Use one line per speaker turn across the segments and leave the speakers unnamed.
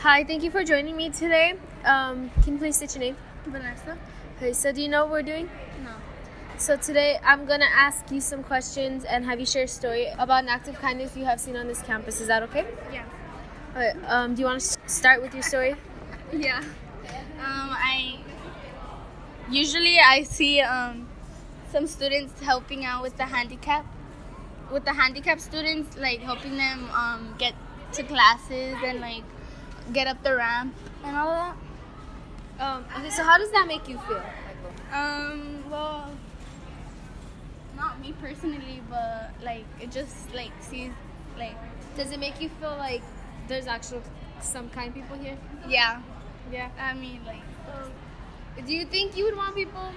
Hi, thank you for joining me today. Um, can you please state your name?
Vanessa?
Okay, so do you know what we're doing?
No.
So today I'm gonna ask you some questions and have you share a story about an act of kindness you have seen on this campus. Is that okay?
Yeah.
Okay, um, do you want to start with your story?
Yeah. Um, I usually I see um, some students helping out with the handicap, with the handicap students, like helping them um, get to classes and like get up the ramp and all that.
Um, okay, so how does that make you feel?
Um, well, not me personally, but like it just like sees like
Does it make you feel like there's actual some kind people here?
yeah.
Yeah.
I mean like
Do you think you would want people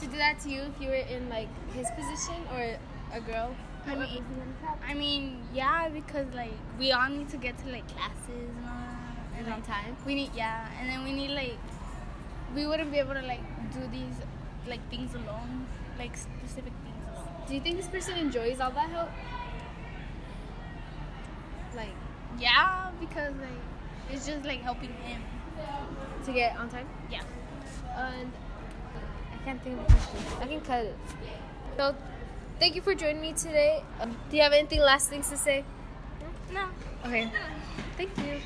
to do that to you if you were in like his position or a girl?
I mean, I mean, yeah, because like we all need to get to like classes and all that. And
on
like,
time.
we need yeah, and then we need like we wouldn't be able to like do these like things alone, like specific things alone.
Do you think this person enjoys all that help? Like
Yeah, because like it's just like helping him.
to get on time?
Yeah.
And uh, I can't think of a question. I can cut it. So thank you for joining me today. Um, do you have anything last things to say?
No.
Okay. Thank you.